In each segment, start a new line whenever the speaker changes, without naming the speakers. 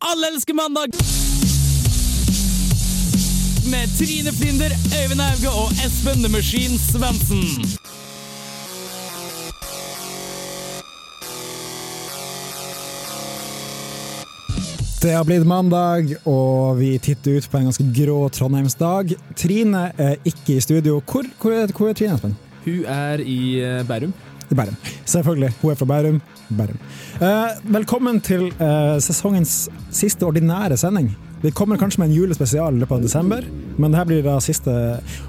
Alle elsker mandag! Med Trine Flinder, Øyvind Hauge og Espen The Machine Svendsen.
Det har blitt mandag, og vi titter ut på en ganske grå trondheimsdag. Trine er ikke i studio. Hvor, hvor, er, hvor er Trine, Espen?
Hun er i eh, Bærum.
I Bærum. Selvfølgelig. Hun er fra Bærum. Bærum. Eh, velkommen til eh, sesongens siste ordinære sending. Vi kommer kanskje med en julespesial i løpet av desember, men dette blir da siste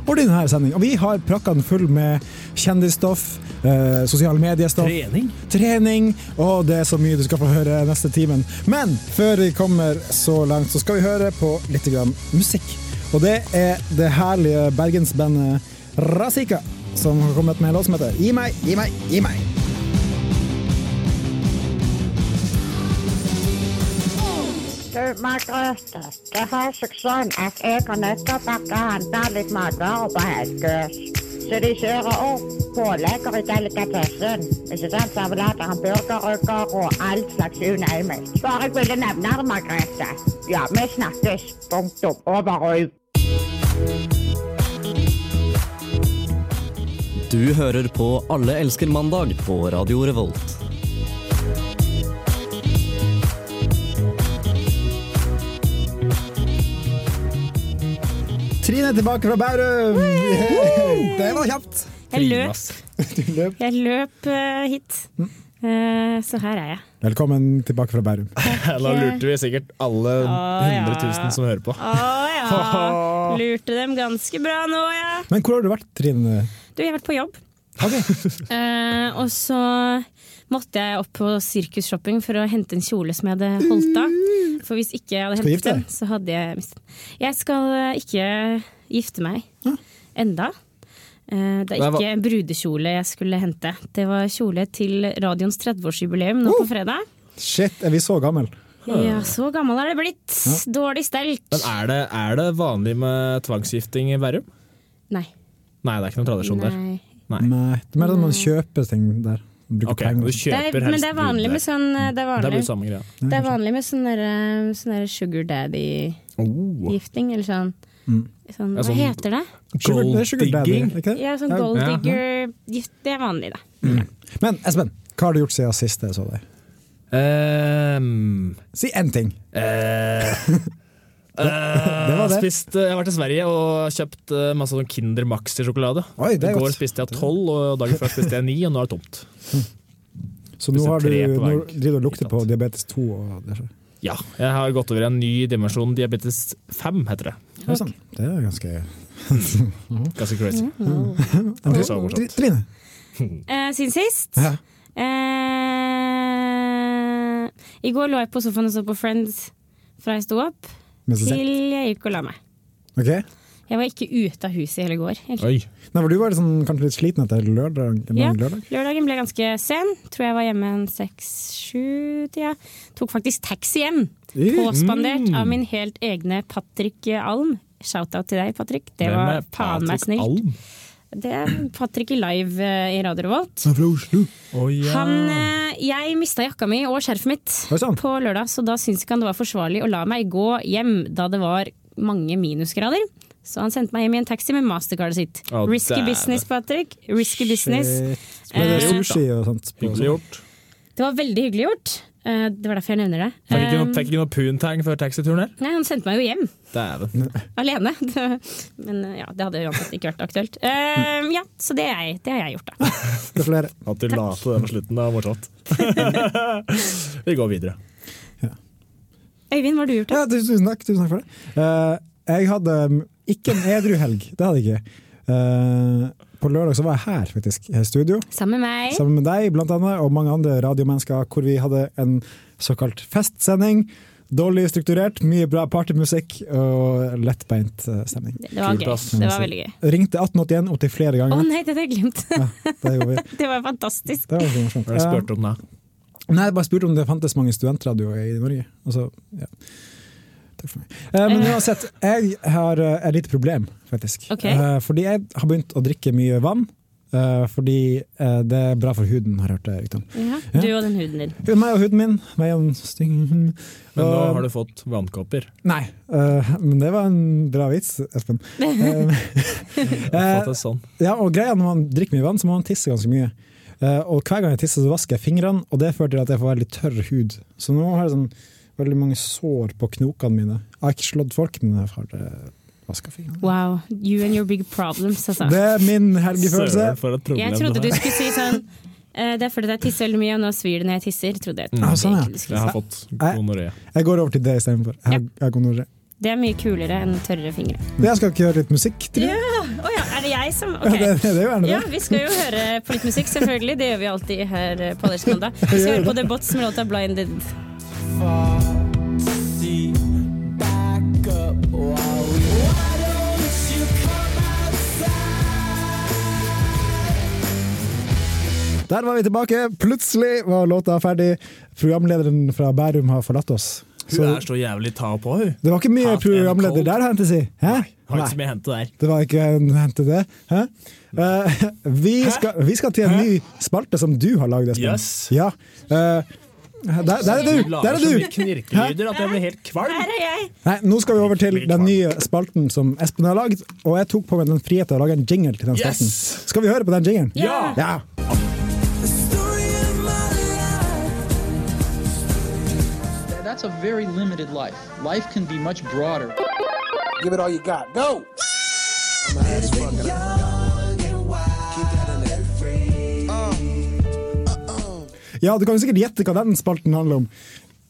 ordinære sending. Og vi har prakkene full med kjendisstoff, eh, sosiale mediestoff
Trening?
trening, og det er så mye du skal få høre neste timen. Men før vi kommer så langt, så skal vi høre på litt grann musikk. Og det er det herlige bergensbandet Razika, som har kommet med en låt som heter Gi meg, gi meg, gi meg.
Du, Margrethe, det har seg sånn at jeg har nettopp vært og handlet litt matvarer på Helgøs. Så de kjører opp pålegger i delikatessen. Ikke sant? Servelater, hamburgerrygger og all slags you name it. Bare jeg ville nevne det, Margrethe. Ja, vi snakkes. Punktum. Over og ut.
Du hører på Alle elsker mandag på Radio Revolt.
Trine er tilbake fra Bærum! Yeah! Det var kjapt!
Jeg løp,
Du løp.
jeg løp eh, hit.
Mm.
Eh, så her er jeg.
Velkommen tilbake fra Bærum.
Da lurte vi sikkert alle
Å, ja.
100 000 som hører på.
Å ja. Lurte dem ganske bra nå, ja.
Men hvor har du vært, Trine?
Du, jeg har vært på jobb.
Ok.
Eh, og så måtte jeg opp på Sirkus Shopping for å hente en kjole som jeg hadde holdt av.
Mm.
For hvis ikke jeg hadde
Skal du
hentet
gifte
den,
deg?
så hadde jeg mistet den. Jeg skal eh, ikke gifte meg. Enda. Eh, det
Nei,
er
hva-
ikke brudekjole jeg skulle hente. Det var kjole til radioens 30-årsjubileum nå på fredag.
Shit, er vi så gammel?
Ja, så gammel er det blitt. Dårlig stelt.
Men er det, er det vanlig med tvangsgifting i Bærum?
Nei.
Nei, det er ikke noen tradisjon sånn der.
Nei.
Nei. Det er mer at man kjøper ting der. Bruker
Ok,
penger.
du
Det
kjøper
er, men det er
brud
vanlig
der.
med sånn Det er
Det
vanlig,
blir samme greia.
det er vanlig med sånn derre- sånn derre sugar daddy-gifting,
Oh.
eller sånn. sånn
Ja,
hva
sånn-
heter det?
Sugar- det er sugar daddy,
Gold-digging.
er ikke det?
Ja, sånn
Ja.
gold
ja.
digger-gift. Det er vanlig, det.
Men Espen, hva har du gjort siden sist jeg så deg?
Ehm,
Si én ting.
eh,
det var det.
Spist, eh, jeg har vært i Sverige og kjøpt eh, masse sånn Kinder Maxi-sjokolade.
Oi, det
I
er
går
godt.
spiste jeg tolv, og dagen før spiste jeg ni, og nå er det tomt.
Så nå,
Hvis det er
har du,
tre på
nå
hver.
driver du og lukter på diabetes 2 og det skjer.
Ja, jeg har gått over i en ny dimensjon. Diabetes 5 heter det.
Det er, sant. Det er ganske
Ganske crazy.
Mm.
Tri-
så morsomt.
Tri- Trine!
Eh, siden sist
Ja.
eh, I går lå jeg på sofaen og så på Friends fra jeg sto opp,
Mens du ser.
til jeg gikk og la meg.
Ok.
Jeg var ikke ute av huset i hele går. egentlig.
Oi.
Nei, for du var litt sånn, kanskje litt sliten etter lørdag? En
Ja,
lang lørdag?
lørdagen ble ganske sen. Tror jeg var hjemme en seks-sju-tida. Tok faktisk taxi hjem.
Eh,
Påspandert
mm.
av min helt egne Patrick Alm. Shout-out til deg, Patrick. Det
Hvem
var
er
faen meg
Patrick
snilt.
Alm?
Det er Patrick i live eh, i Radio Revolt.
Fra Oslo.
Å, ja.
Han, eh, jeg mista jakka mi og skjerfet
Oi,
mitt
sann.
på lørdag, så da syntes ikke han det var forsvarlig å la meg gå hjem da det var mange minusgrader. Så han sendte meg hjem i en taxi med mastercardet sitt.
Å,
Risky
dæven.
business, Patrick. Risky business.
Shit. Ble det
Eh,
sushi og sånt? på-
Hyggelig gjort.
Det var veldig hyggelig gjort. Eh, Det var derfor jeg nevner det.
Fikk ikke noe,
Eh,
fikk ikke noe poontang før taxituren her?
Nei, han sendte meg jo hjem.
Dæven.
Alene. Det- Men eh, ja, det hadde uansett ikke vært aktuelt. Eh, ja, så det, er jeg, det har jeg gjort, da.
Det er flere.
At du la til det på slutten, det var morsomt. Vi går videre.
Øyvind, hva har du gjort? da?
Ja, tusen tusen takk, tusen takk for det. Eh, jeg hadde mm, ikke en edru helg. Det hadde jeg ikke. Eh, på lørdag så var jeg her, faktisk, i studio.
Sammen med meg.
Sammen med deg blant annet, og mange andre radiomennesker, hvor vi hadde en såkalt festsending. Dårlig strukturert, mye bra partymusikk og lettbeint eh, stemning.
Det var
Kult,
gøy.
ass.
Det var veldig gøy.
Ringte 1881 opptil flere
Å
ganger.
nei, det hadde jeg glemt.
Ja, det gjorde vi.
Det var fantastisk.
Det var ganske morsomt.
Hva er det jeg spurte om da?
Eh, Nei, jeg bare spurte om det fantes mange studentradioer i Norge. Og så, ja. Takk for meg. Eh, Men uansett, jeg har eh, et lite problem, faktisk.
Ok.
Eh, Fordi jeg har begynt å drikke mye vann. eh, fordi eh, det er bra for huden, har jeg hørt eh, det rykte om.
Ja.
Ja.
Du og den huden din.
Meg og huden min. Meg og en stygg hund.
Men nå
Og-
har du fått vannkopper.
Nei, eh, men det var en bra vits, Espen. Eh,
Fått det sånn.
Ja, og greia når man drikker mye vann, så må man tisse ganske mye. Eh, og hver gang jeg tisser, så vasker jeg fingrene, og det fører til at jeg får veldig tørr hud. Så nå har jeg sånn veldig mange sår på knokene mine. Jeg har ikke slått folk, men jeg har eh, vasket fingrene.
Wow. You and your big problems, altså.
Det er min
Søren
helgefølelse.
for et problem
Jeg trodde
du
du
har.
skulle si sånn eh, Det er fordi jeg tisser veldig mye, og nå svir det når jeg tisser. Trodde jeg
Mm. Ah,
sånn, ja.
egentlig du skulle
Jeg har fått
Nei.
gonoré.
Jeg går over til det istedenfor. Jeg, har- jeg har gonoré.
si. Det er mye kulere enn tørre fingre.
Jeg skal ikke høre litt musikk, tror jeg.
Ja. Å ja, er det jeg som
Ja,
Ok.
det, det er jo gjerne det.
Ja, vi skal jo høre på litt musikk, selvfølgelig. Det gjør vi alltid her eh, på Aldersmandag. Vi skal høre på The Bots med låta 'Blinded'.
Der var vi tilbake. Plutselig var låta ferdig. Programlederen fra Bærum har forlatt oss.
Hun
Så
er så jævlig ta på, hun.
det var ikke mye
Hot and
programleder
cold.
der, henter si. Hæ?
Har ikke så mye å hente der.
Det var ikke en hent til det. Hæ? Eh, vi, skal, vi skal til en ny spalte som du har lagd, Espen.
Yes.
Ja. Eh, der, der er du! Der er
så mye
du!
knirkelyder at jeg blir helt kvalm.
Her er jeg!
Nei, nå skal vi over til den nye spalten som Espen har lagd. Og jeg tok på meg den friheten å lage en jingle til den
Yes!
spalten. Skal vi høre på den jingelen?
Ja!
Ja.
That's a very limited life. Life can be much broader.
Give it all you got. Go!
ja, du kan jo sikkert gjette hva den spalten handler om.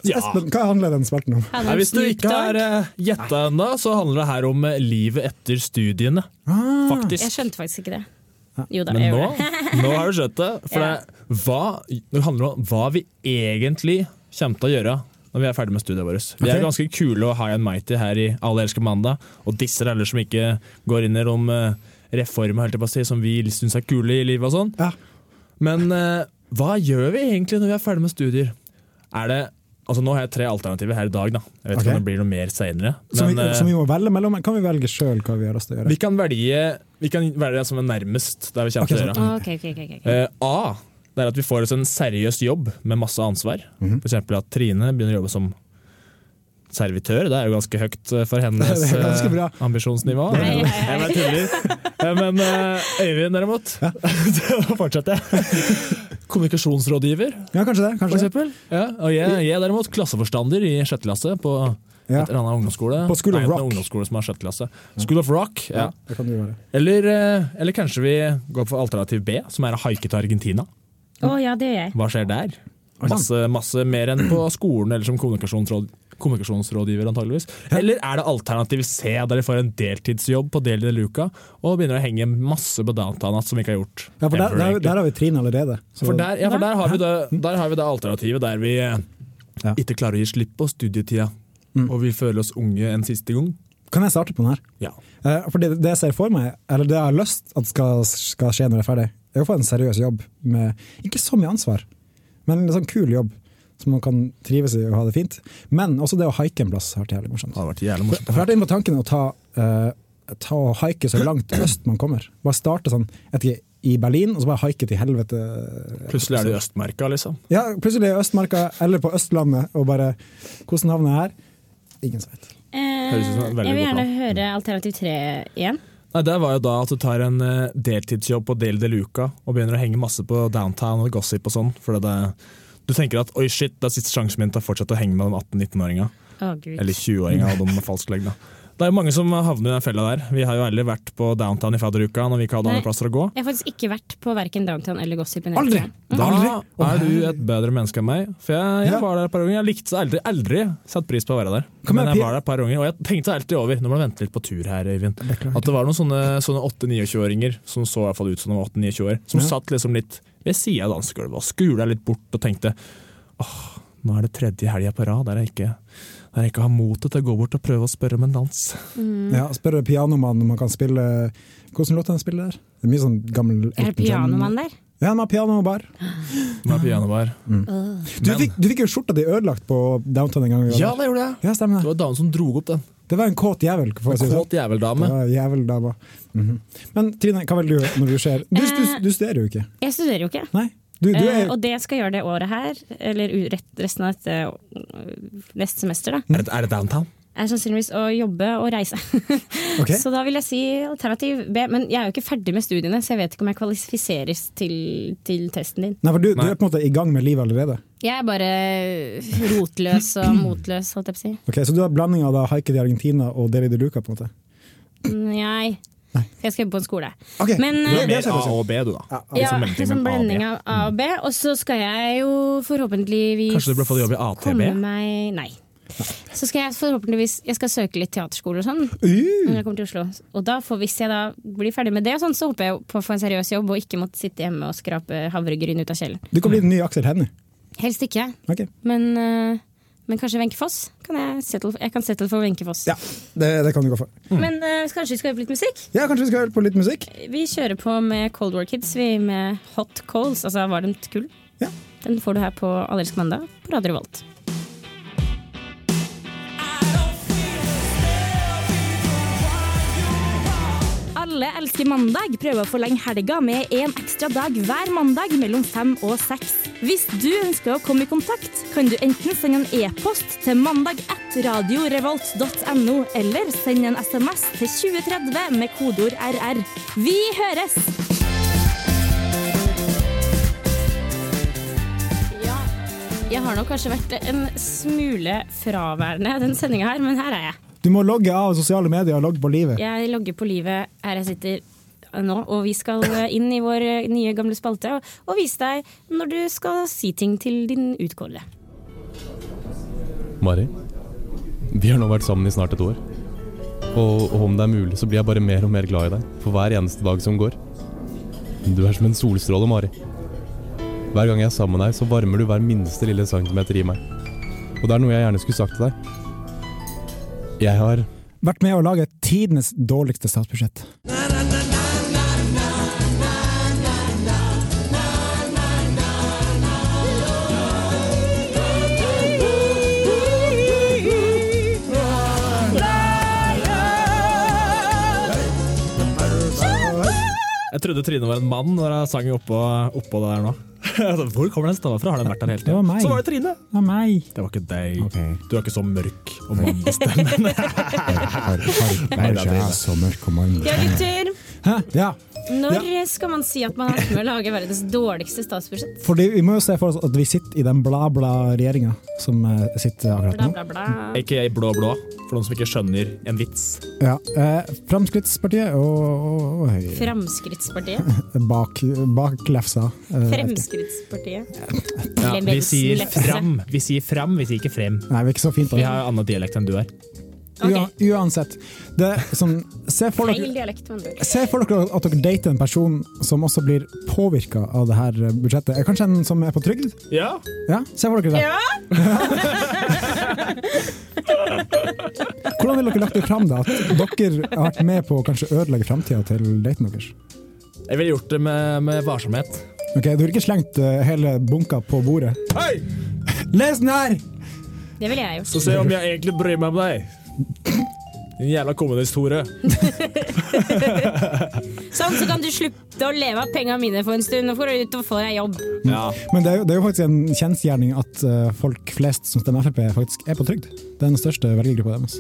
Ja.
Espen, hva handler den spalten om?
Hadde
Nei,
en
hvis du
Snoop
ikke har
Dogg.
eh, gjetta ennå, så handler det her om eh, livet etter studiene. Faktisk.
Jeg skjønte faktisk ikke det. Jo da,
Men
jeg
nå,
gjorde det.
nå har du skjønt det. For
Ja.
det, hva, det handler om hva vi egentlig kommer til å gjøre når vi er ferdig med studiet vårt. Vi
Ok.
er ganske kule og high and mighty her i Alle elsker mandag, og disser alle som ikke går inn i de eh, reformer holdt jeg på å si, som vi syns er kule i livet og sånn.
Ja.
Men eh, hva gjør vi egentlig når vi er ferdig med studier? Er det Altså Nå har jeg tre alternativer her i dag. da Jeg vet ikke
Ok.
om det blir noe mer seinere.
Som, vi, som vi må velge mellom? Kan vi velge sjøl hva vi har lyst til å gjøre?
eh, Vi kan velge Vi kan velge det som er nærmest der vi
Ok,
kommer til å
sånn.
gjøre.
Å, ok, ok, ok, ok.
Eh, A det er at vi får oss en seriøs jobb med masse ansvar.
Mhm.
For eksempel at Trine begynner å jobbe som servitør. Det er jo ganske høyt eh, for hennes
Det er ganske bra.
eh, ambisjonsnivå.
Nei, nei,
Jeg
nei.
bare tuller. Eh, Men eh, Øyvind, derimot Nå fortsetter jeg. Kommunikasjonsrådgiver,
Ja, kanskje det.
for
Kanskje det.
eksempel. Ja, og jeg, jeg er derimot klasseforstander i sjette klasse på
Ja.
et eller annet ungdomsskole.
På School of
Nei, det er
Rock.
ungdomsskole som har sjette klasse. School of Rock, ja.
Det kan du gjøre.
Eller, eh, eller kanskje vi går for alternativ B, som er å haike til Argentina.
Å ja, det gjør jeg.
Hva skjer der? Masse, masse mer enn på skolen eller som kommunikasjonsråd, kommunikasjonsrådgiver, antageligvis. Eller er det alternativ C, der de får en deltidsjobb på del i luka og begynner å henge masse på downtown som vi ikke har gjort?
Ja, for der,
ever,
der,
egentlig.
der har vi Trine allerede. Så-
for der, ja, for der, har vi det, der har vi det alternativet der vi eh,
Ja. Mm.
ikke klarer å gi slipp på studietida, og vi føler oss unge en siste gang.
Kan jeg starte på den her?
Ja.
Eh, For det, det jeg ser for meg, eller det jeg har lyst at skal, skal skje når jeg er ferdig, er å få en seriøs jobb med ikke så mye ansvar, men en sånn kul jobb som man kan trives i og ha det fint. Men også det å haike en plass har vært jævlig morsomt.
Det hadde vært jævlig
For jeg har vært inne på tanken å ta, eh, ta og haike så langt øst man kommer. Bare starte sånn jeg vet ikke, i Berlin, og så bare haike til helvete.
Plutselig er det i Østmarka, liksom.
Ja, plutselig i Østmarka eller på Østlandet, og bare Hvordan havner jeg her? Ingen som vet.
Eh,
Høres ut som en veldig
jeg vil
god
gjerne
plan.
høre alternativ tre igjen.
Nei, Det var jo da at du tar en eh, deltidsjobb på Del de Luca og begynner å henge masse på downtown og gossip og sånn. Fordi det, du tenker at oi shit, det er siste sjansen min til å fortsette å henge med de 18-19-åringa.
Å gud.
Eller 20-åringa, og de med falsklegg. da. Det er jo mange som havner i den fella der. Vi har jo alle vært på downtown i fadderuka når vi ikke hadde
Nei.
andre plasser å gå.
Jeg har faktisk ikke vært på verken Downtown eller Gossip. i
Aldri!
Norge.
Da
Aldri!
er du et bedre menneske enn meg. For jeg, jeg
Ja.
var der et par ganger. Jeg likte aldri, aldri satt pris på å være der.
Kan
Men
jeg
jeg
pe-
var der et par ganger, og jeg tenkte alltid over Nå må jeg vente litt på tur her, Øyvind. At det var noen sånne, sånne 8-29-åringer som så i hvert fall ut som de var 8-29 år, som
Ja.
satt liksom litt ved sida av dansegulvet og skula litt bort og tenkte åh, nå er det tredje helga på rad der jeg ikke der jeg ikke har motet til å gå bort og prøve å spørre om en dans.
Mm. Ja, spør pianomannen om han kan spille Hvordan låt han spiller der? Det er mye sånn gammel
Er det
Elton John.
pianomann der?
Ja, han har piano og bar.
Nå er pianobar.
Du fikk, du fikk jo skjorta di ødelagt på Downtown en gang. vi var
Ja,
der.
det gjorde jeg!
ja, stemmer
Det
det.
var damen som dro opp den.
Det Det var en kåt jævel. For å si det sånn.
Kåt jæveldame.
Ja, jævel dama. Mhm. Men Trine, hva velger du når du ser Du, du, du studerer jo ikke.
Jeg studerer jo ikke.
Nei. Du, du
Eh,
er
og det skal jeg gjøre det året her, eller u- rett- resten av dette øh, neste semester, da.
Er, det, er det downtown?
Er sannsynligvis å jobbe og reise.
Ok.
Så da vil jeg si alternativ B. Men jeg er jo ikke ferdig med studiene, så jeg vet ikke om jeg kvalifiseres til, til testen din.
Nei, for du, du
Nei.
er på en måte i gang med livet allerede.
Jeg er bare rotløs og motløs, holdt jeg på å si.
Ok, Så du har blanding av da haiket i Argentina og Deli de Luca? på en måte.
Nei. Jeg skal jobbe på en skole.
Ok,
Men,
Du
eh,
er mer
ser
A
jeg for meg.
og B, du, da.
ja,
Liksom mellomting
en sånn
mellom A og B.
blanding av A og B. Og så skal jeg jo forhåpentligvis
Kanskje du burde fått jobb i ATB?
komme meg Nei. Så skal jeg forhåpentligvis Jeg skal søke litt teaterskole og sånn når jeg kommer til Oslo. Og da får, hvis jeg da blir ferdig med det, og sånn, så håper jeg på å få en seriøs jobb og ikke måtte sitte hjemme og skrape havregryn ut av kjelen.
Du kan bli den nye Aksel Hennie.
Helst ikke.
Ok.
Men, eh, men kanskje Wenche Foss? Kan jeg, settle, jeg kan settle for Wenche Foss.
Ja, det, det kan du gå for.
Men eh, kanskje vi skal øve litt musikk?
Ja, Kanskje vi skal høre på litt musikk?
Vi kjører på med Cold War Kids, vi med Hot Coals, altså varmt kull.
Ja.
Den får du her på Allelsk mandag på Radio Revolt.
Alle elsker mandag. Prøv å forlenge helga med en ekstra dag hver mandag mellom fem og seks. Hvis du ønsker å komme i kontakt, kan du enten sende en e-post til mandag1radiorevolt.no, eller sende en SMS til 2030 med kodeord RR. Vi høres!
Jeg har nok kanskje vært en smule fraværende den sendinga her, men her er jeg.
Du må logge av sosiale medier og logge på livet.
Jeg logger på livet her jeg sitter nå, og vi skal eh, inn i vår nye gamle spalte og, og vise deg når du skal si ting til din utkårede.
Mari, vi har nå vært sammen i snart et år. Og, og om det er mulig, så blir jeg bare mer og mer glad i deg for hver eneste dag som går. Du er som en solstråle, Mari. Hver gang jeg er sammen med deg, så varmer du hver minste lille centimeter i meg. Og det er noe jeg gjerne skulle sagt til deg. Jeg har
Vært med å lage tidenes dårligste statsbudsjett.
Jeg trodde Trine var en mann når jeg sang oppå, oppå det der nå. Jeg sa, Hvor kommer den stemma fra? Har den vært der hele
Det var
tiden?
meg.
Så var det Trine!
Av meg.
Det var ikke deg.
Ok.
Du er ikke så mørk og mannestemme.
Nei,
det er det.
så mørk og mann.
Ja, gutter.
Hæ? Ja,
Når skal man si at man har vært med å lage verdens dårligste statsbudsjett?
fordi vi må jo se for oss at vi sitter i den bla-bla-regjeringa som eh, sitter akkurat
Bla,
nå.
bla, bla.
Ikke blå blå, for noen som ikke skjønner en vits.
Ja, eh, Fremskrittspartiet og, og, og Høyre
Fremskrittspartiet.
bak, bak lefsa. Eh, vet ikke.
Fremskrittspartiet.
Ja, vi sier
Levensen, lefse.
fram, vi sier fram, vi sier ikke frem.
Nei, vi er ikke så fint.
Vi
da.
har annen dialekt enn du er.
Ua, uansett. Det, er sånn, se for dere
Feil dialekt, med andre ord.
Se for dere at dere dater en person som også blir påvirka av det her budsjettet. Eh, Kanskje en som er på trygd?
Ja,
Ja, se for dere det. Hvordan ville dere lagt det fram da, at dere har vært med på å kanskje ødelegge framtida til daten deres?
Jeg ville gjort det med, med varsomhet.
Ok, Du har ikke slengt eh, hele bunka på bordet?
Hei!
Les den her!
Det ville jeg gjort.
Så se om jeg egentlig bryr meg om deg. Din jævla kommunist-hore.
Sånn, så kan du slutte å leve av pengene mine for en stund. Nå får du ut og få deg jobb.
Ja.
Men det er, jo, det er jo faktisk en kjensgjerning at eh, folk flest som stemmer Frp, faktisk er på trygd. Det er den største velgergruppa deres.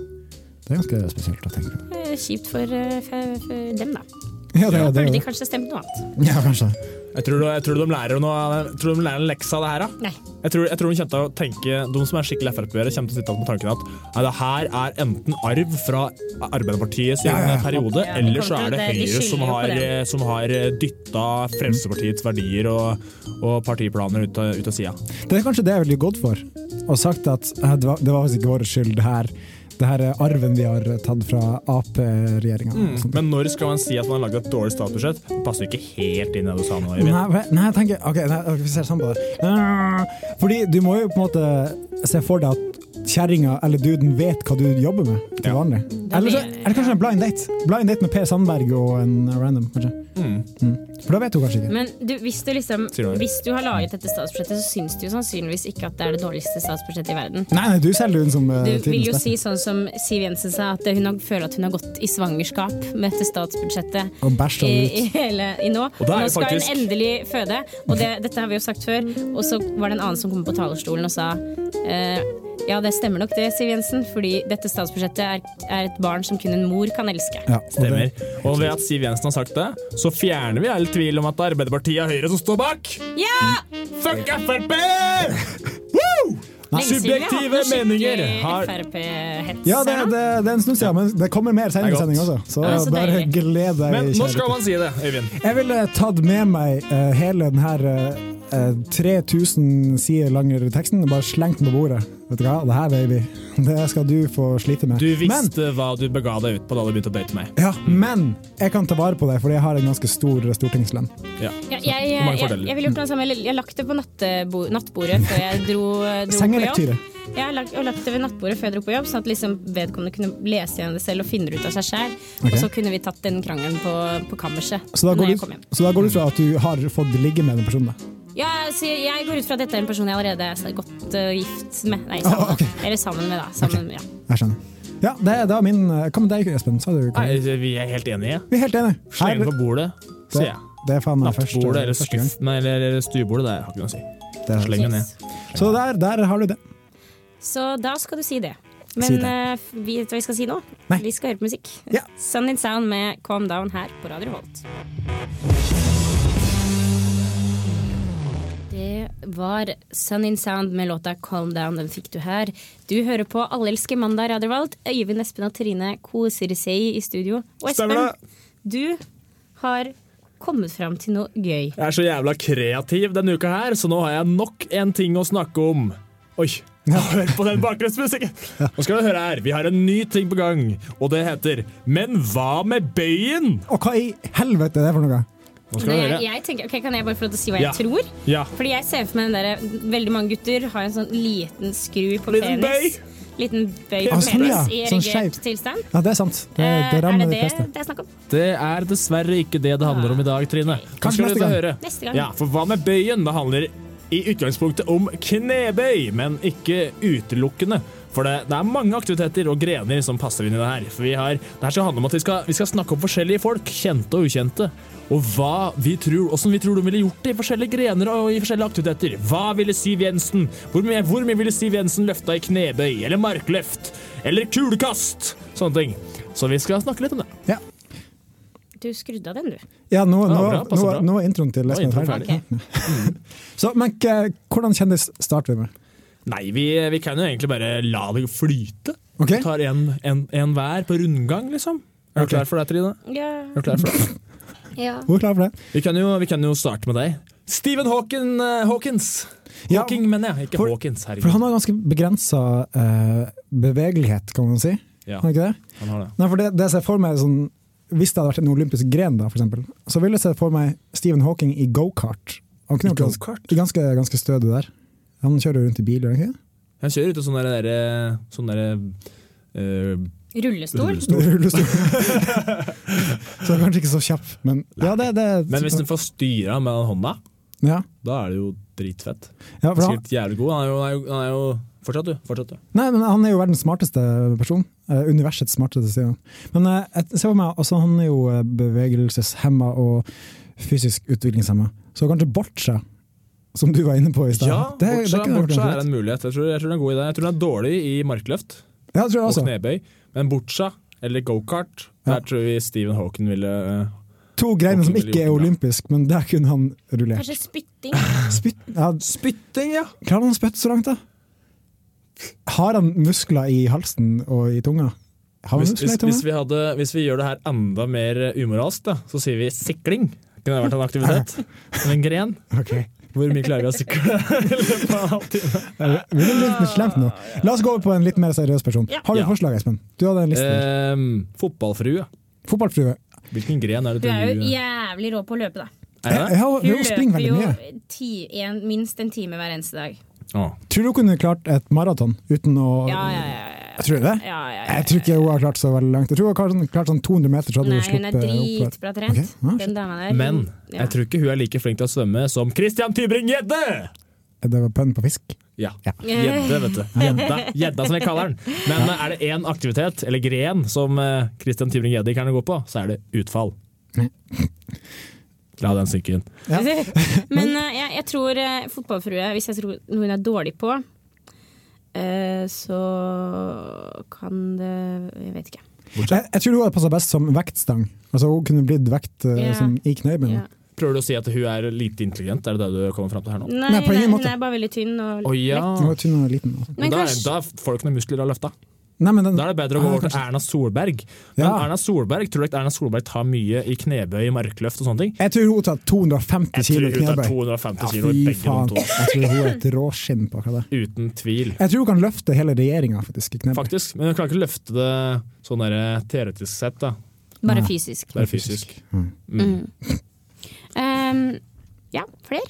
Det er ganske spesielt å tenke på.
Eh, Kjipt for, eh, for, for dem, da.
Ja, det, er- det,
Burde
er
de
jo-
kanskje stemt noe annet?
ja kanskje.
Jeg tror, jeg tror de lærer noe jeg tror de lærer en lekse av det her. Da.
Nei.
Jeg tror, jeg tror de, kommer til å tenke, de som er skikkelig Frp-ere, kommer til å sitte med tanken at nei, det her er enten arv fra Arbeiderpartiets
Ja, ja, ja.
periode,
Ja, de
eller så
kommer
er
til å-
det
de
Høyre
skylder
som
jo på
har,
det.
som har dytta Fremskrittspartiets verdier og, og partiplaner ut av, ut av sida.
Det er kanskje det jeg ville gått for, og sagt at eh, det var, det var faktisk ikke vår skyld, det her. Det her er arven vi har tatt fra Ap-regjeringa.
Men når skal man si at man har lagd et dårlig statsbudsjett? Det passer jo ikke helt inn i det du sa nå. Eivind.
Nei, for- nei, jeg tenker Ok, nei, ok, vi ser sånn på det. Eh, Fordi du må jo på en måte se for deg at kjerringa eller duden vet hva du jobber med til vanlig. Eller så er det kanskje en blind date. Blind date med Per Sandberg og en random, kanskje. Mm. For da vet hun kanskje ikke.
Men du, hvis, du liksom,
Sier du det?
hvis du har laget dette statsbudsjettet, så syns du jo sannsynligvis ikke at det er det dårligste statsbudsjettet i verden.
Nei, nei, du selger hun som uh,
Du vil
tidens
jo
beste.
si sånn som Siv Jensen sa, at hun har, føler at hun har gått i svangerskap med dette statsbudsjettet
Og bæsja
i,
det ut.
i, hele, i nå.
Og da er
nå
det
skal
faktisk-
hun endelig føde, og det, dette har vi jo sagt før. Og så var det en annen som kom på talerstolen og sa eh, ja, det stemmer nok det, Siv Jensen, fordi dette statsbudsjettet er, er et barn som kun en mor kan elske.
Stemmer. Og ved at Siv Jensen har sagt det, så fjerner vi all tvil om at det er Arbeiderpartiet og Høyre som står bak.
Ja!
Fuck Frp! Woo! Subjektive meninger har
Ja, det, det, det er en stund siden, men det kommer mer senere i
Det er
sending også.
godt.
Så
Ja, så
bare
deilig.
gled deg.
Men nå
kjære
skal
gutter.
man si det, Øyvind.
Jeg ville tatt med meg eh, hele den her eh, eh, 3000 sider lange teksten og bare slengt den på bordet. Vet du hva, det her, baby, det skal du få slite med.
Du visste hva du bega deg ut på da du begynte å date meg.
Ja, men jeg kan ta vare på deg, fordi jeg har en ganske stor eh, stortingslønn.
Ja.
Ja, jeg,
Hvor
jeg,
mange
jeg,
fordeler?
ville gjort det samme. Jeg jeg lagt det på nattebo, nattbordet før jeg dro, dro på
Sengelektyre.
jobb. Jeg har lagt, og lagt det ved nattbordet før jeg dro på jobb, sånn at liksom vedkommende kunne lese gjennom det selv og finne det ut av seg sjæl.
Ok.
Og så kunne vi tatt den krangelen på, på kammerset
Så da,
når
går
jeg
du,
kom hjem.
så da går du fra at du har fått ligge med den personen. da.
Ja, så jeg, jeg går ut fra at dette er en person jeg allerede er godt eh, gift med. Nei, sammen, Eller sammen med, da. Sammen, med, ja.
Jeg skjønner. Ja, det, det var min eh, Hva med deg, Espen? Sa du
Nei, vi er helt enige.
Vi er helt enige.
Sleng
Nei,
den på bordet, sier jeg.
Det er faen meg første,
Nattbordet eller
første gang.
skuff, nei, eller, eller stuebordet, det har ikke noe å si.
Det er-
Sleng den ned.
Så der, der har du det.
Så da skal du si det. Men
Si det.
eh, vi vet hva vi skal si nå. Vi skal høre på musikk. Sun in Sound med Calm Down her på Radio Holt. Det var Sun in Sound med låta Calm Down. Den fikk du her. Du hører på Allelske mandag, Radio Volt. Øyvind, Espen og Trine koser seg i studio. Og Espen,
Stemmer
du har kommet fram til noe gøy.
Jeg er så jævla kreativ denne uka her, så nå har jeg nok en ting å snakke om. Oi, hør på den bakgrunnsmusikken! Nå skal du høre her, vi har en ny ting på gang, og det heter Men hva med bøyen?
Og hva i helvete er det for noe?
Nå skal du
Nei,
høre.
jeg, jeg tenker, ok, kan jeg bare få lov til å si hva
Ja.
jeg tror?
Ja.
Fordi jeg ser for meg den der, Veldig mange gutter har en sånn liten skru på
Liten
penis. Liten bøy
Ah,
på
sånn, ja.
penis i
Sånn
erigert
skeiv.
tilstand.
Ja, det er sant. Det,
Eh,
det
er
rammer
det
de
det
fleste.
det er snakk om?
Det er dessverre ikke det det handler om i dag, Trine.
Kanskje
Nå skal du
neste
få
gang.
høre.
Neste gang.
Ja, for hva med bøyen? Det handler i utgangspunktet om knebøy, men ikke utelukkende. For det, det er mange aktiviteter og grener som passer inn i det her. For vi har, det her skal handle om at vi skal, vi skal snakke om forskjellige folk, kjente og ukjente. Og hva vi tror, hvordan vi tror de ville gjort det i forskjellige grener og i forskjellige aktiviteter. Hva ville Siv Jensen? Hvor mye, hvor mye ville Siv Jensen løfta i knebøy? Eller markløft? Eller kulekast? Sånne ting. Så vi skal snakke litt om det.
Du skrudde av den, du.
Ja, nå, nå,
Ja, bra,
nå,
passer bra.
nå er introen til
Nå er
Espen
introen
ferdig. Så, men k- hvordan kjendis starter vi med?
Nei, vi, vi kan jo egentlig bare la det flyte.
Ok.
Vi tar en, en, en hver på rundgang, liksom. Er du
Ok.
klar for det, Trine?
Ja.
Er du klar for det?
ja.
Hvor klar for det?
Vi kan jo, vi kan jo starte med deg. Stephen Hawking, eh, Hawkins.
Ja,
Hawking, mener jeg. Ikke
for-
Hawkins,
For
herregud.
han har ganske begrensa eh, bevegelighet, kan man si.
Ja.
Har han ikke det?
Han har det.
Nei, for det, det jeg ser for meg sånn, Hvis det hadde vært en olympisk gren, da, for eksempel, så ville jeg se for meg Stephen Hawking i gokart. Han kunne jo ganske, ganske, ganske stødig der. Han kjører jo rundt i bil, gjør han ikke?
Han kjører ut i sånn derre der, sånn der, eh,
Rullestol?
Rullestol.
Rullestol. så han er kanskje ikke så kjapp, men ja, det, det
Men hvis du får styra med den hånda,
ja.
da er det jo dritfett.
Ja, for han-
Sikkert jævlig god. Han er jo, han er jo, han er jo Fortsatt, du. Fortsatt, du.
Nei, men han er jo verdens smarteste person. Eh, universets smarteste, sier han. Men eh, jeg ser for meg, altså, han er jo eh, bevegelseshemma og fysisk utviklingshemma, så kanskje Boccia, som du var inne på i stad
Ja,
det- det
Boccia
kunne vært
Boccia er
naturlig.
en mulighet. Jeg tror, jeg tror det er en god idé. Jeg tror den er dårlig i markløft.
Ja, det tror jeg
og
også.
knebøy. Men boccia, eller gokart, der tror vi Stephen Hawking ville eh,
To greiner som
Hawking ville
ikke er
gjort det bra.
olympisk, men der kunne han rullert.
Kanskje spytting?
Spytt, ja.
Spytting, ja!
Klarer han å spytte så langt, da? Har han muskler i halsen og i tunga? Har han
Hvis,
muskler
hvis,
i tunga?
hvis, vi hadde, hvis vi gjør det her enda mer eh, umoralsk, da, så sier vi sikling. Kunne det vært en aktivitet? Som en gren?
Ok.
Hvor mye klarer vi å sykle?
Eh, Vi er litt slemt nå. La oss gå over på en litt mer seriøs person.
Ja.
Har du
Ja.
forslag, Espen? Du hadde en liste. der.
Ehm, fotballfrue.
Fotballfrue.
Hvilken gren er det
Du er jo
du
jævlig rå på å løpe, da.
Er det?
Ja, hun
Hun
springer veldig mye.
ti, en, minst en time hver eneste dag.
Tror du hun kunne klart et maraton uten å
Ja, ja, ja.
Jeg tror det.
ja, ja, ja.
Jeg tror ikke hun har klart så veldig langt. Jeg tror hun har klart- klart sånn 200 meter. Så hadde
Nei,
hun
hun er
sluppet oppover.
dritbra trent.
Ok, ja,
Den dama der.
Men
hun- ja.
jeg tror ikke hun er like flink til å svømme som Christian Tybring-Gjedde!
Det var pønn på fisk.
Ja. Gjedde, vet du. Gjedda, Gjedda som jeg kaller den. Men eh, er det én aktivitet, eller gren, som eh, Christian Tybring-Gjedde ikke kan gå på, så er det utfall. La den synke inn.
Men eh, jeg, jeg tror eh, fotballfrue, hvis jeg tror noe hun er dårlig på, eh, så kan det Jeg vet ikke.
Jeg, jeg tror hun hadde passa best som vektstang. Altså Hun kunne blitt vekt eh,
Ja.
som i knøyben.
Ja.
Prøver du å si at hun er lite intelligent? Er det det du kommer fram til her nå?
Nei,
Nei, på
hun er-
ingen måte.
hun er bare veldig tynn. Og,
Å ja.
Hun var tynn og liten. altså.
Men
Da er,
kanskje-
da er folk med muskler har løfta.
Nei, men den,
Da er det bedre å gå
Ja,
over til
kanskje.
Erna Solberg. Men
Ja.
Erna Solberg, tror du ikke Erna Solberg tar mye i knebøy, i markløft og sånne ting?
Jeg tror hun tar 250
Jeg tror
kilo
hun tar
knebøy.
250
Ja,
kilo i
fy
begge
faen.
de to.
Jeg tror hun er et råskinn på akkurat det.
Uten tvil.
Jeg tror hun kan løfte hele regjeringa, faktisk. i knebøy.
Faktisk. Men hun klarer ikke å løfte det sånn der, teoretisk sett, da.
Bare fysisk.
Bare fysisk.
Ehm, ja, flere?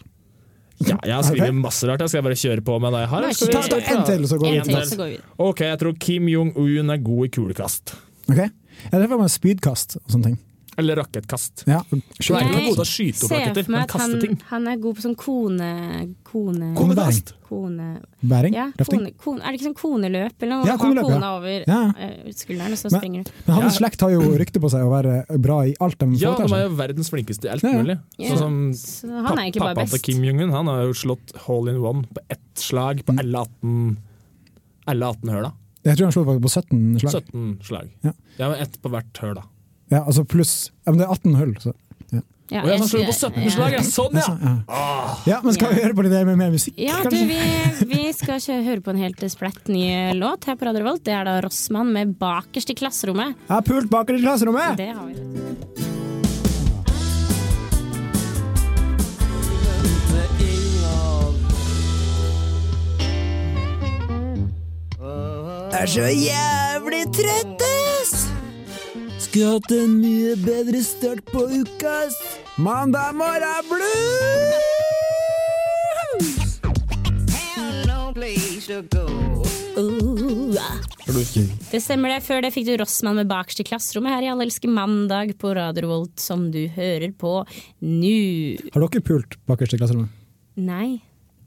Ja, jeg har skrevet masse rart. Jeg skal bare kjøre på med det jeg har.
Nei,
Skal vi-
Ta, ta en til, så går vi
En til,
videre.
så går vi videre.
Ok, jeg tror Kim Jong-un er god i kulekast.
Ok? Jeg treffer med spydkast og sånne ting.
Eller rakettkast.
Ja.
Hun er
Nei.
ikke noe god til å skyte opp
Se
raketter,
for meg
men
at han,
kaste ting.
han er god på sånn kone... Kone...
Konebæring.
kone
Bæring?
ja,
Løfting?
kone, kone, er det ikke sånn koneløp? Eller noe?
Ja,
Ja,
koneløp, ja.
kona over
Ja.
eh, skulderen, og så
Men-
springer du.
Men hans slekt har jo rykte på seg å være bra i alt de
Ja,
foretar
de er
seg.
jo verdens flinkeste i alt
Ja, ja.
mulig.
Ja.
Sånn som
Så han er ikke
Pappa-
bare
Pappaen til
best.
Kim Jong-un han har jo slått hole in one på ett slag
Mm.
på alle 18, alle 18 høla.
Jeg tror han slo på 17 slag.
17 slag.
Ja.
Ja. men ett på hvert høl, da.
Ja, altså pluss ja, men Det er 18 hull. Så.
Ja,
Å ja,
jeg
han slo på
skulle-
17 slag! Ja. Sånn, ja!
Ja, men skal vi høre på det der med mer musikk,
Ja, du,
kanskje?
vi, vi skal kjø- høre på en helt splett ny låt her på Radio Revolt. Det er da Rossmann med 'Bakerst i klasserommet'.
Jeg har pult baker i klasserommet!
Det har vi.
er så jævlig trøtt, ass! Skulle hatt en mye bedre start på uka, ass!
Mandag morgen blues!
Det stemmer det. Før det fikk du Rossmann med 'Bakerst i klasserommet' her i Alle elsker mandag på Radio Revolt, som du hører på nå.
Har dere pult bakerst i klasserommet?
Nei.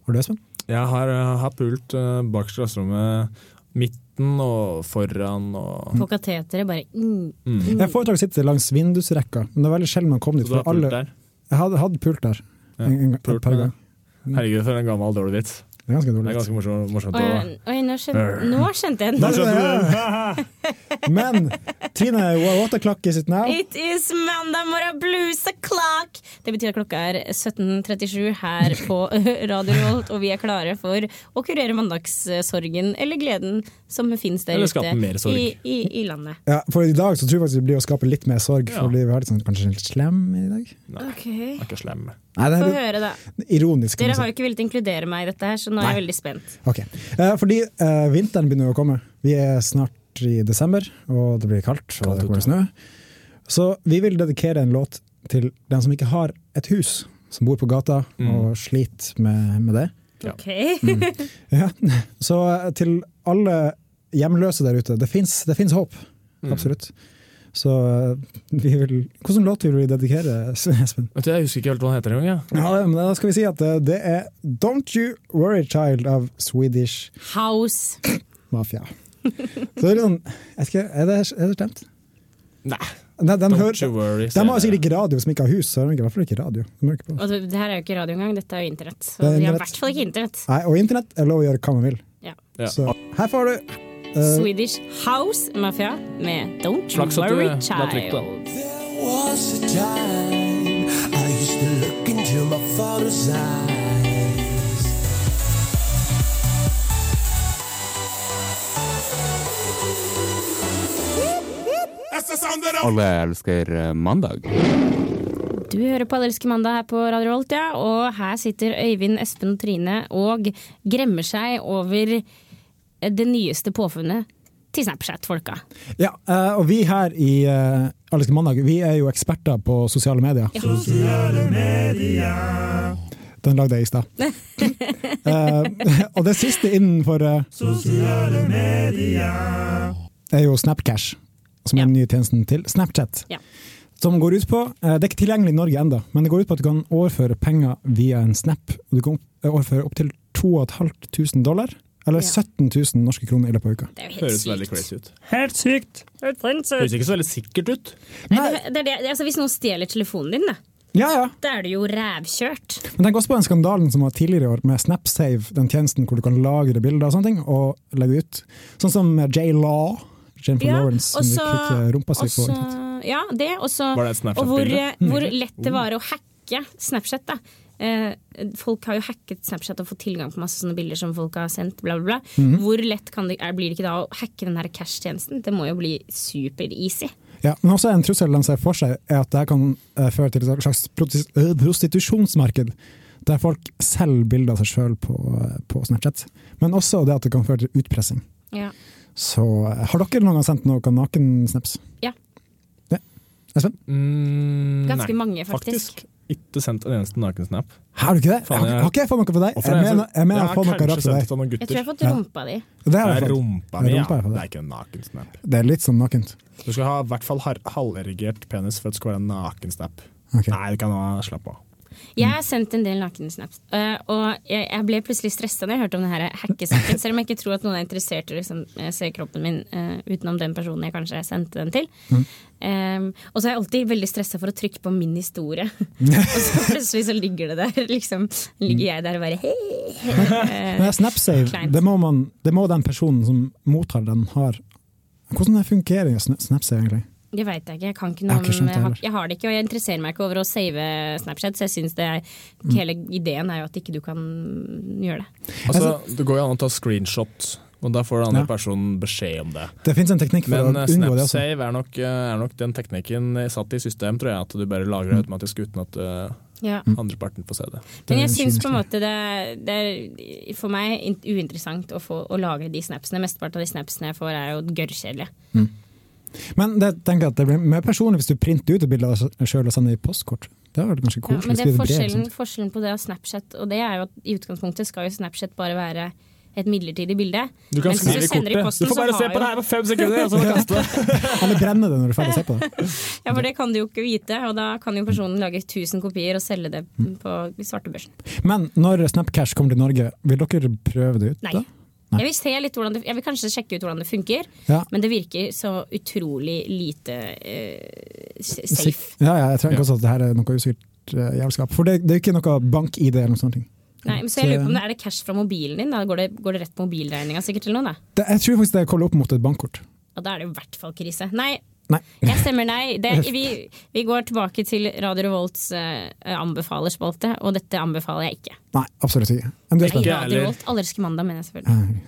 Har du, Espen?
Jeg har, eh, har pult uh, bak klasserommet midten og foran og
På kateteret, bare mm.
Jeg foretrekker å sitte langs vindusrekka, men det er veldig sjelden man kom dit.
Så du har
For
pult
alle,
der?
jeg hadde, hadde pult der en, en, gang-
pult
et par
med det.
ganger. Mm.
Herregud, for en gammel dårlig vits.
Det er ganske
Det er
dårlig.
ganske morsom- morsomt. å-
Oi, oi, nå, skjønte, nå skjønte jeg
Nei,
den.
Men Trine Waterclock is it now?
It is mandag morgen blues o'clock! Det betyr at klokka er 17.37 her på Radio Revolt, og vi er klare for å kurere mandagssorgen, eller gleden som finnes der
Eller
ute
skape mer sorg.
i, i, i landet.
Ja, for i dag så tror jeg faktisk det blir å skape litt mer sorg,
Ja.
fordi vi har litt sånn kanskje litt slem i dag.
Jeg er ikke slem.
Nei, det
Få
er
høre, da.
litt ironisk. kan
Dere
man
har jo ikke villet inkludere meg i dette her, så nå er jeg veldig spent.
si. Ok. Eh, fordi eh, vinteren begynner å komme. Vi er snart i desember, og det blir kaldt, og det kommer snø. Så vi vil dedikere en låt til den som ikke har et hus, som bor på gata og sliter med, med det.
Ok.
Mm.
Ja. Så eh, til alle hjemløse der ute, det fins det finnes håp. Absolutt. Så eh, vi vil Hvilken låt vil vi dedikere, Espen?
Vet du, Jeg husker ikke helt hva han heter engang. jeg.
Ja, men Da skal vi si at eh, det er Don't You Worry Child av Swedish
House.
Mafia. Så det er, litt sånn, jeg skal, er, det, er det stemt?
Nei,
De, de,
don't you
hører,
worry.
de
sier
har
jeg.
sikkert ikke radio som ikke har hus, så de har i hvert fall ikke radio. De hører ikke på.
Og det, det her er jo ikke radio engang, dette er jo internett. Så
Det er
vi har i
internett.
hvert fall ikke internett.
Nei, og internett er lov å gjøre hva man vil.
Ja.
Ja.
Så her får du eh,
Swedish House Mafia med Don't You
Slags at du
Worry
la trykk, da.
Child.
Alle elsker eh, mandag.
Du hører på Allelske mandag her på Radio Rolt, ja. Og her sitter Øyvind, Espen og Trine og gremmer seg over det nyeste påfunnet til Snapchat-folka.
Ja, eh, og vi her i uh, Allerske mandag, vi er jo eksperter på sosiale medier. Sosiale medier! Den lagde jeg i stad. Eh, og det siste innenfor eh,
Sosiale medier.
er jo Snapcash, som er den nye tjenesten til Snapchat.
Ja.
Som går ut på eh, Det er ikke tilgjengelig i Norge ennå, men det går ut på at du kan overføre penger via en Snap. Og du kan opp- eh, overføre opptil 2500 dollar, eller 17 000 norske kroner i løpet av uka.
Det er jo helt
Høres
sykt.
veldig crazy ut.
Helt sykt!
Helt
Høres
sinnssykt.
ikke så veldig sikkert ut.
Nei, det- det er det- altså, hvis noen stjeler telefonen din, da,
Ja, ja.
da er du jo rævkjørt.
Men tenk også på den skandalen som var tidligere i år med Snapsave, den tjenesten hvor du kan lagre bilder og sånne ting, og legge ut. Sånn som J. Law, Jennifer Lawrence, som
også-
gikk ut eh, rumpa si på
også-
internett.
Ja, det. Også,
Var det et Snapchat-bilde?
og hvor, eh,
Mm.
hvor lett det var å hacke Snapchat. Da. Eh, folk har jo hacket Snapchat og fått tilgang på masse sånne bilder som folk har sendt. Bla, bla, bla.
Mhm.
Hvor lett kan det, er, blir det ikke da å hacke den her cash-tjenesten? Det må jo bli super-easy.
Ja, men også en trussel de ser for seg, er at det her kan eh, føre til et slags protis- eh, prostitusjonsmarked, der folk selger bilder av seg sjøl på, eh, på Snapchat. Men også det at det kan føre til utpressing.
Ja.
Så eh, har dere noen gang sendt noen nakensnaps?
Ja.
Ja. Espen?
Ganske mange, faktisk.
Mm, Ikke sendt en eneste nakensnap.
Har du ikke det?
Faen, jeg-
Har ikke jeg fått noe fra deg?
Hvorfor
Jeg
har jeg
mener,
sendt-
jeg mener jeg
Jeg
har fått
har
noe
kanskje
rap fra
sendt til noen
deg.
gutter.
Jeg tror jeg har fått
Ja.
rumpa di.
Det har jeg
Det er
fått.
rumpa
Det er
mi, ja.
rumpa jeg har fått.
Det er ikke en nakensnap.
Det er litt sånn nakent.
Du skal ha i hvert fall har- halverigert penis for at det skal være en nakensnap. Nei, det kan ha slapp av.
Jeg har sendt en del nakensnaps, eh, og jeg, jeg ble plutselig stressa når jeg hørte om den her hackesaken. Selv om jeg ikke tror at noen er interessert i å liksom, eh, se kroppen min eh, utenom den personen jeg kanskje sendte den til.
Mm.
Ehm, og så er jeg alltid veldig stressa for å trykke på min historie. og så plutselig så ligger det der. Liksom, ligger jeg der og bare hei.
Men Snapsave,
Eh, Kleint.
det må, man, det må den personen som mottar den, har Hvordan det fungerer Sna- Snapsave, egentlig?
Det veit jeg ikke. Jeg kan ikke
Jeg har
noe
ikke skjønt
om
det
jeg har,
heller.
jeg har det ikke, og jeg interesserer meg ikke over å save Snapchat, så jeg syns det er
Mm.
Hele ideen er jo at ikke du kan gjøre det.
Altså, det går jo an å ta screenshots, og da får den andre
Ja.
personen beskjed om det.
Det finnes en teknikk for
Men
å unngå
eh,
det også.
SnapSave er nok, eh, er nok den teknikken satt i system, tror jeg. At du bare
Mm.
lagrer automatisk uten at eh,
Ja.
andre parten får se det.
Men jeg syns på en måte det, det er for meg in- uinteressant å, få, å lagre de snapsene. Mesteparten av de snapsene jeg får, er jo gørrkjedelige.
Men det, tenker jeg at det blir mer personlig hvis du printer ut et bilde av deg sjøl og sender det i postkort. Det hadde vært ganske
Ja,
koselig.
men det er
Skrive brev,
forskjellen,
sånt.
forskjellen på det og Snapchat, og det er jo at i utgangspunktet skal jo Snapchat bare være et midlertidig bilde.
Du kan
Mens hvis
skrive i
sender i
kortet.
posten,
Du får
så
bare
har
se på
jo-
det her på fem sekunder, altså, og så må du kaste det.
sånn. Eller brenne det når du er ferdig å se på det.
Ja, for det kan du jo ikke vite, og da kan jo personen lage 1000 kopier og selge det på svartebørsen.
Men når Snapcash kommer til Norge, vil dere prøve det ut?
Nei.
da? Nei.
Jeg vil, se litt hvordan det, jeg vil kanskje sjekke ut hvordan det funker,
Ja.
men det virker så utrolig lite eh, s- safe.
Sik- Ja, ja, jeg tenker også at det her er noe usikkert eh, jævelskap. For det, det er jo ikke noe bank-ID eller noe sånt.
Nei, men så jeg lurer på om det er det cash fra mobilen din? Da går det, går det rett på mobilregninga sikkert til noen, da?
Det, jeg tror faktisk det er koblet opp mot et bankkort.
Og da er det i hvert fall krise. Nei,
Nei.
jeg stemmer nei. Det, vi, vi går tilbake til Radio Revolts eh, anbefalerspalte, og dette anbefaler jeg ikke.
Nei, absolutt ikke. Men du er
Nei,
spent.
Radio Revolt, Allerske mandag, mener jeg selvfølgelig.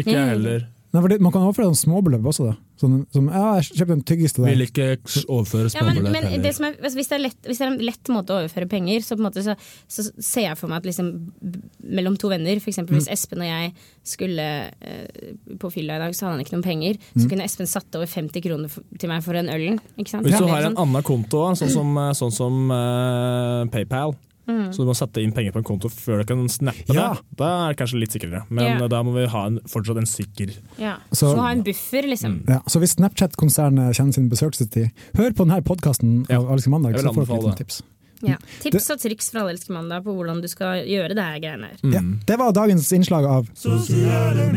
Ikke
Mm.
jeg heller.
Nei, for det, man kan overføre sånn småbeløp også, da. Sånn, som, ja, jeg kjøpte en tyggis til
Vil
deg.
ikke s- overføre
Ja, men,
småbeløp
men det
heller.
som er, altså, hvis, det er lett, hvis det er en lett måte å overføre penger, så, på en måte, så, så ser jeg for meg at liksom, b- mellom to venner, f.eks. hvis
Mm.
Espen og jeg skulle eh, på fylla i dag, så hadde han ikke noen penger.
Mm.
Så kunne Espen satt over 50 kroner for, til meg for en ølen. Ikke sant?
Hvis
Så
du
det er
har en
sånn-
annen konto, sånn som, sånn som eh, PayPal,
Mm.
så du må sette inn penger på en konto før du kan snappe
Ja.
det, da er det kanskje litt sikrere. Men
Ja.
eh, da må vi ha en, fortsatt en sikker
ja.
Så- Mm.
Så, må ha en buffer, liksom.
Ja, så hvis Snapchat-konsernet kjenner sin besøkelsestid, hør på denne podkasten av Alice Mandag,
Jeg vil
så får dere
anbefale
litt
det.
tips.
Ja. Tips og triks fra Allelske mandag på hvordan du skal gjøre det her greiene her.
Ja,
Mm.
det var dagens innslag av
Sosiale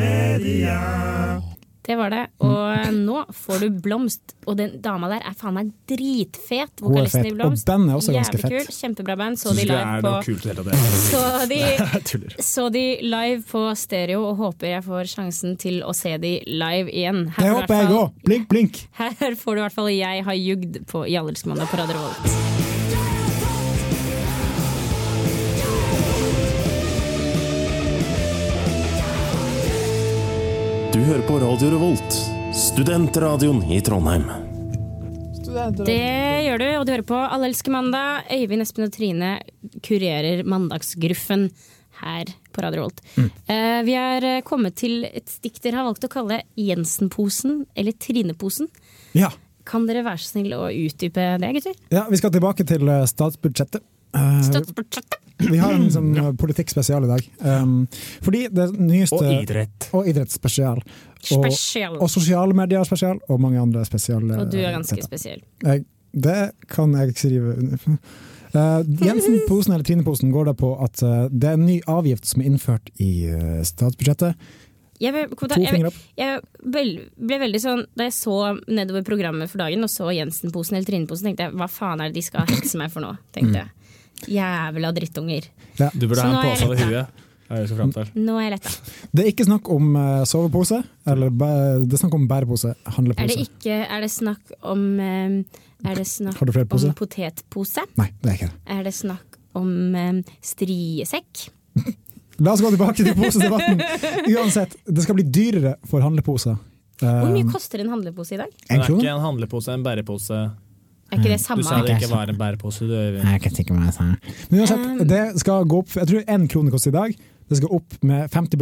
medier.
Det var det.
Mm.
Og eh, nå får du Blomst. Og den dama der er faen meg dritfet.
Hun er
Vokalisten
fet,
i
og
Blomst.
bandet er også ganske
Jævlig
fett.
Kul, kjempebra band. Så
Synes
de
ikke det
live
er
på
noe kult i det hele tatt.
Så de,
Jeg tuller.
så de live på stereo, og håper jeg får sjansen til å se de live igjen.
Det
får
håper
i hvert
jeg
fall-
òg! Blink, blink!
Her får du i hvert fall Jeg har jugd på Jallersk mandag på Radio Revolt.
Du hører på Radio Revolt, studentradioen i Trondheim.
Det gjør du, og du hører på Alle elsker mandag. Øyvind, Espen og Trine kurerer mandagsgruffen her på Radio Volt.
Mm.
Eh, vi har eh, kommet til et stikk dere har valgt å kalle Jensen-posen, eller Trine-posen.
Ja.
Kan dere være så snill å utdype det, gutter?
ja, vi skal tilbake til eh, statsbudsjettet. Eh,
Statsbudsjettet.
Vi har en sånn, eh, politikkspesial i dag. Um, fordi det nyeste
Og idrett.
Og idrettsspesial. Og,
Spesial.
og sosialmedier-spesial, og mange andre eh, spesialer.
Og du er ganske spesiell.
Jeg, det kan jeg skrive under på. Eh, Jensen-posen eller Trine-posen går da på at eh, det er en ny avgift som er innført i eh, statsbudsjettet.
Jeg ble, kom, da,
To fingre
jeg,
opp.
jeg vel, ble veldig sånn Da jeg så nedover programmet for dagen og så Jensen-posen eller Trine-posen, tenkte jeg hva faen er det de skal hekse meg for nå?
Mm.
tenkte jeg. Jævla drittunger.
Du burde
Så
ha
nå
en
er jeg
pose over
letta.
huet. Er det jeg skal frem til.
Nå er jeg letta.
Det er ikke snakk om eh, sovepose, eller bæ- det er snakk om bærepose, handlepose.
Er det ikke Er det snakk om eh, Er det snakk
Har du flere poser?
om potetpose?
Nei, det er ikke det.
Er det snakk om eh, striesekk?
La oss gå tilbake til posedebatten. Uansett, det skal bli dyrere for handleposer.
Hvor mye
Eh,
koster en handlepose i dag?
Det er
krone?
ikke en handlepose, en bærepose.
Er
Eh,
ikke det
Du
samme?
sa det ikke var en bærepose, du Øyvind.
Jeg kan tenke meg det samme. Men uansett, det skal gå opp Jeg tror én krone koster i dag. Det skal opp med 50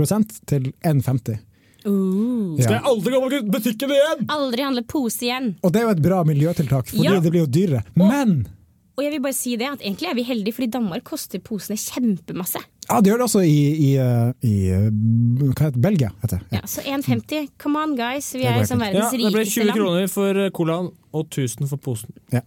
til 1,50.
Uh.
Skal jeg
aldri gå på butikken igjen?
Aldri handle pose igjen.
Og det er jo et bra miljøtiltak, fordi
Ja.
det blir jo dyrere. Men
Og jeg vil bare si det at egentlig er vi heldige, fordi Danmark koster posene kjempemasse.
ja, det gjør det også i, i, eh, i eh, Hva heter det? Belgia, heter det.
Ja, så 1,50. Come on, guys. Vi
Det er
er
bare
liksom
fint.
Ja,
verdens
det ble
rikeste
20
land.
kroner for eh, colaen og 1000 for posen.
Ja.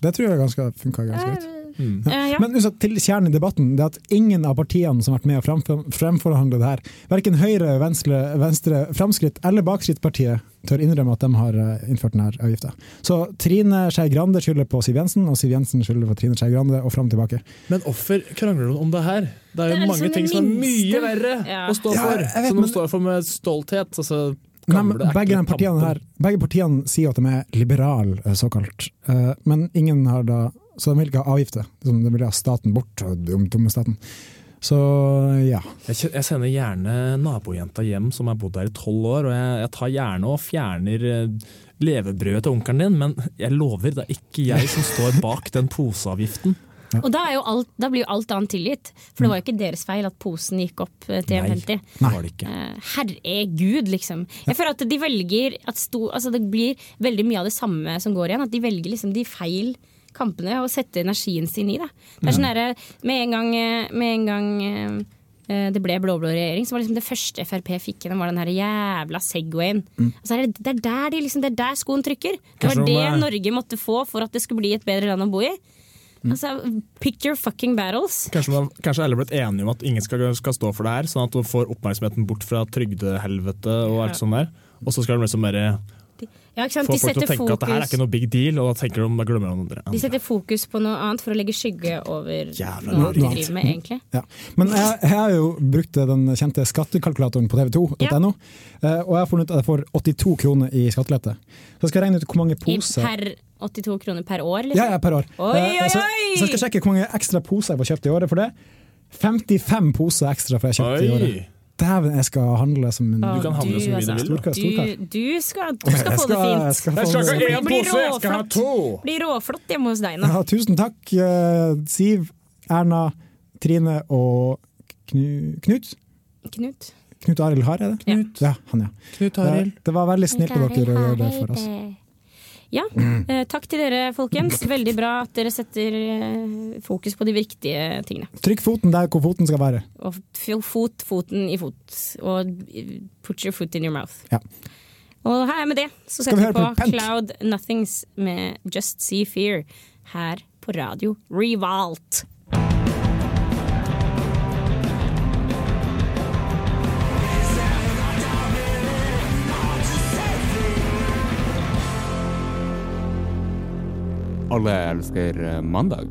Det tror jeg ganske, funka ganske godt. Ja.
Eh, ja.
Men uansett, til kjernen i debatten, det er at ingen av partiene som har vært med å fremfor, fremforhandle det her, verken Høyre, Venstre, venstre Fremskritt eller Bakskrittpartiet tør innrømme at de har eh, innført denne avgifta. Så Trine Skei Grande skylder på Siv Jensen, og Siv Jensen skylder på Trine Skei Grande, og fram og tilbake.
Men hvorfor krangler du om det her? Det er jo
Det er
mange
liksom
ting
det
som er mye
minste.
verre
Ja.
å stå
Ja,
for,
jeg vet,
som de
men-
står for med stolthet. Altså,
Nei, men
krangler, det er
begge,
ikke
de partiene
kampen.
her, begge partiene sier at de er liberale, eh, såkalt. Eh, Men ingen har da Så de vil ikke ha avgifter. Liksom, De vil ha staten bort, og dum- dumme staten. Så ja.
Jeg, kjen- jeg sender gjerne nabojenta hjem som har bodd her i tolv år, og jeg, jeg tar gjerne og fjerner eh, levebrødet til onkelen din, men jeg lover, det er ikke jeg som står bak den poseavgiften.
Og da, er jo alt, da blir jo alt annet tilgitt. For det var jo ikke deres feil at posen gikk opp eh, til
Nei,
1,50.
det var det ikke.
Eh, Herregud, liksom. Jeg føler at de velger at sto, altså Det blir veldig mye av det samme som går igjen. At de velger liksom de feil kampene og setter energien sin i det. Det er sånn derre Med en gang, eh, med en gang eh, eh, det ble blå-blå regjering, så var liksom det første Frp fikk gjennom, var den her jævla Segwayen. Altså, er det, det, er der de liksom, det er der skoen trykker. Det
Mm. Kanskje
var
de,
det
eh,
Norge måtte få for at det skulle bli et bedre land å bo i.
Mm.
Altså, pick your fucking battles.
Kanskje, man, kanskje alle er blitt enige om at ingen skal, skal stå for det her, sånn at man får oppmerksomheten bort fra trygdehelvete og alt sånt der. Og så skal de liksom bare
Ja, ikke sant?
få
De
folk til å
setter
tenke at det her er
fokus
ikke noe big deal, og da tenker de, da glemmer de andre.
De setter fokus på noe annet for å legge skygge over
Jævla
noe de
lurt.
driver med, egentlig.
Ja. Men jeg, jeg har jo brukt eh, den kjente skattekalkulatoren på tv2.no, eh, og jeg har funnet ut at jeg får 82 kroner i skattelette. Så jeg skal regne ut hvor mange
I
poser
per 82 kroner per år, liksom.
Ja, ja, per år.
Oi,
Eh,
oi,
Så,
oi!
så jeg skal sjekke hvor mange ekstra poser jeg får kjøpt i året for det. 55 poser ekstra får jeg kjøpt i
Oi.
året. Dæven, jeg skal handle som en
Å,
Du kan handle så mye
altså.
du vil, da.
Storkar.
Du, du skal, du skal
Jeg
få det
skal-
fint.
jeg skal få Jeg skal det- ikke ha
Det
én
blir
pose, jeg skal ha
råflott.
to.
Blir råflott hjemme hos deg nå.
Ja, tusen takk, eh, Siv, Erna, Trine og Knu, Knut.
Knut.
Knut Arild Hareide?
Ja.
Ja, han, ja.
Knut
Det, det var veldig snilt av dere å gjøre det for oss.
Ja,
Mm.
eh, takk til dere folkens. Veldig bra at dere setter eh, fokus på de viktige tingene.
Trykk foten der hvor foten skal være.
Og f- fot foten i fot. Og put your foot in your mouth.
Ja.
Og her med det så
Skal vi
setter vi
høre på
på
Pent?
Cloud Nothings med Just See Fear her på radio Revolt.
Alle elsker eh, mandag.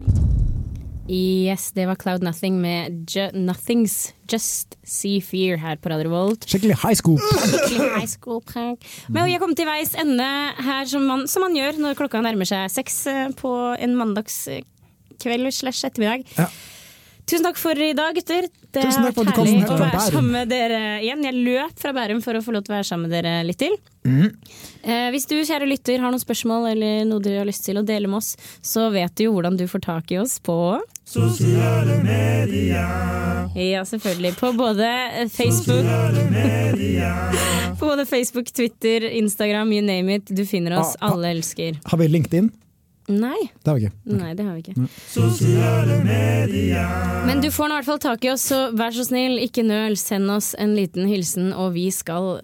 Yes, det var Cloud Nothing med Ju Nothings Just See Fear her på Radio Revolt.
Skikkelig high school.
Skikkelig high school prank. Men jeg kom til veis ende her, som man, som man gjør når klokka nærmer seg seks eh, på en mandagskveld slash ettermiddag. Tusen takk for i dag, gutter. Det
Tusen
har
takk for at
vært
du kom
herlig
helt
å
fra
være
Bærum.
sammen med dere igjen. Jeg løp fra Bærum for å få lov til å være sammen med dere litt til.
Mhm.
Eh, hvis du, kjære lytter, har noen spørsmål eller noe du har lyst til å dele med oss, så vet du jo hvordan du får tak i oss på
Sosiale medier.
ja, selvfølgelig. På både Facebook På både Facebook, Twitter, Instagram, you name it. Du finner oss.
Ah, ah.
Alle elsker.
Har vi LinkedIn?
Nei.
Det har vi ikke.
Nei, det har vi
Mm.
ikke.
Sosiale medier.
Men du får nå i hvert fall tak i oss, så vær så snill, ikke nøl. Send oss en liten hilsen, og vi skal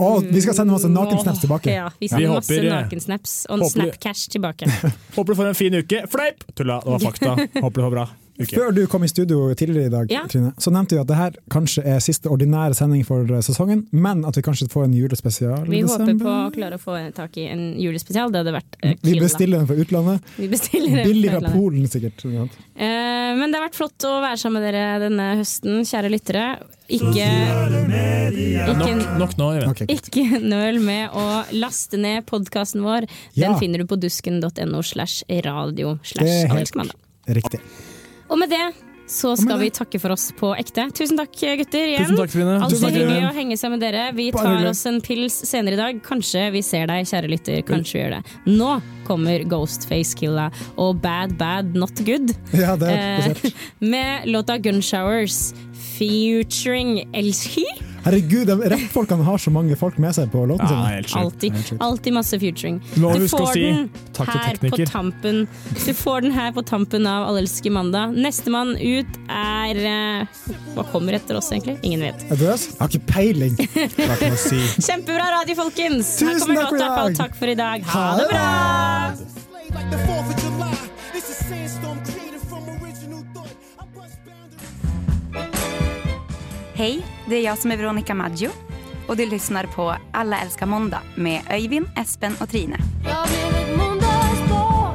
Og vi skal sende masse nakensnaps tilbake.
Ja, vi sender
Vi
masse
håper-
nakensnaps og en
håper-
Snapcash tilbake.
Håper du får en fin uke. Fleip! Tulla, det var fakta. Håper du får bra uke.
Før du kom i studio tidligere i dag,
Ja.
Trine, så nevnte vi at det her kanskje er siste ordinære sending for eh, sesongen, men at vi kanskje får en julespesial
Vi
i
håper
desember.
på å klare å få tak i en julespesial. Det hadde vært eh,
Vi
killa.
bestiller den fra utlandet.
Vi bestiller en
Billig fra
fra utlandet.
Polen, sikkert. ikke sant?
Eh, men det har vært flott å være sammen med dere denne høsten, kjære lyttere. Ikke,
Nok,
ikke,
nok nå, Even.
ikke nøl med å laste ned podkasten vår. Den
Ja.
finner du på dusken.no slash radio
Det er
slash
helt
Allelsmandag.
Riktig.
Og med det så skal vi takke for oss på ekte. Tusen takk, gutter. igjen.
Tusen takk, Trine. Tusen
Alltid
takk,
hyggelig
Trine.
å henge seg med dere. Vi
Bare
tar
hyggelig.
oss en pils senere i dag. Kanskje vi ser deg, kjære lytter. Kanskje vi gjør det. Nå kommer Ghostface Killa og Bad Bad Not Good
Ja, det er
Eh,
spesielt.
med låta Gunshowers featuring Elski.
Herregud, de rappfolkene har så mange folk med seg på låten sin.
Alltid, alltid masse featuring.
Du må huske å si takk til
her på
tekniker.
tampen Du får den her på tampen av Allelske mandag. Nestemann ut er eh, Hva kommer etter oss, egentlig? Ingen vet.
Er du nervøs? Jeg har ikke peiling. Hva kan man si?
Kjempebra radio, folkens! her
Tusen
kommer
takk for i
låta.
dag.
Takk for i dag. Ha
Ha
det
det
bra!
This is Sandstorm created from original thought.
Hej, det är jag som är Veronica Maggio och du lyssnar på Alla älskar måndag med Öyvind, Espen och Trine.
Jag blev ett måndagsbarn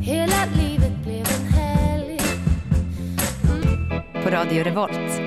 Hela livet blev en helg
På Radio Revolt.